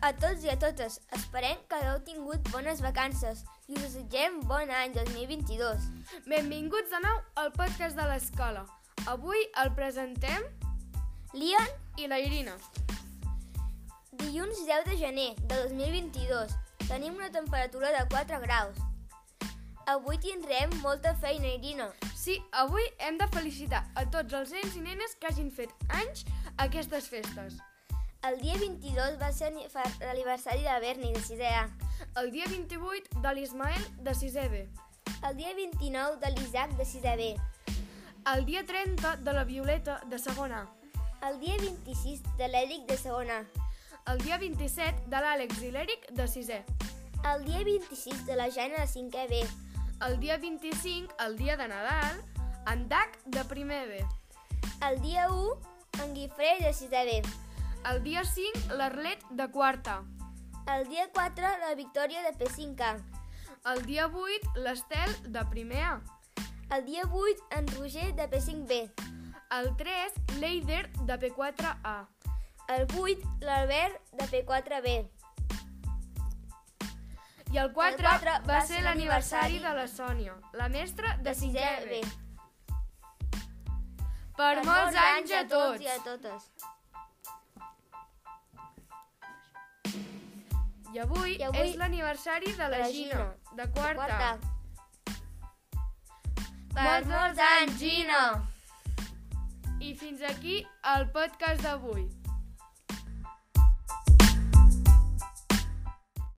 a tots i a totes. Esperem que hagueu tingut bones vacances i us desitgem bon any 2022. Benvinguts de nou al podcast de l'escola. Avui el presentem Lian, i la Irina. dilluns 10 de gener de 2022. Tenim una temperatura de 4 graus. Avui tindrem molta feina, Irina. Sí, avui hem de felicitar a tots els nens i nenes que hagin fet anys aquestes festes. El dia 22 va ser ani- fa- l'aniversari de Berni, de 6è El dia 28 de l'Ismael de 6è B. El dia 29 de l'Isaac, de 6è El dia 30 de la Violeta de segona A. El dia 26 de l'Èric, de segona El dia 27 de l'Àlex i l'Eric de 6è. El dia 26 de la Jana, de 5è B. El dia 25, el dia de Nadal, en Dac de primer B. El dia 1, en Guifré, de 6è B. El dia 5, l'Arlet de quarta. El dia 4, la Victòria, de P5K. El dia 8, l'Estel de primer A. El dia 8, en Roger, de P5B. El 3, l'Eider de P4A. El 8, l'Albert, de P4B. I el 4, El quatre va, ser l'aniversari de la Sònia, la mestra de 5è B. Per molts anys a i a tots! totes. I avui, I avui és l'aniversari de la de la Gina, de quarta. Quarta. Per Molts molts anys, Gina! I fins aquí el podcast d'avui.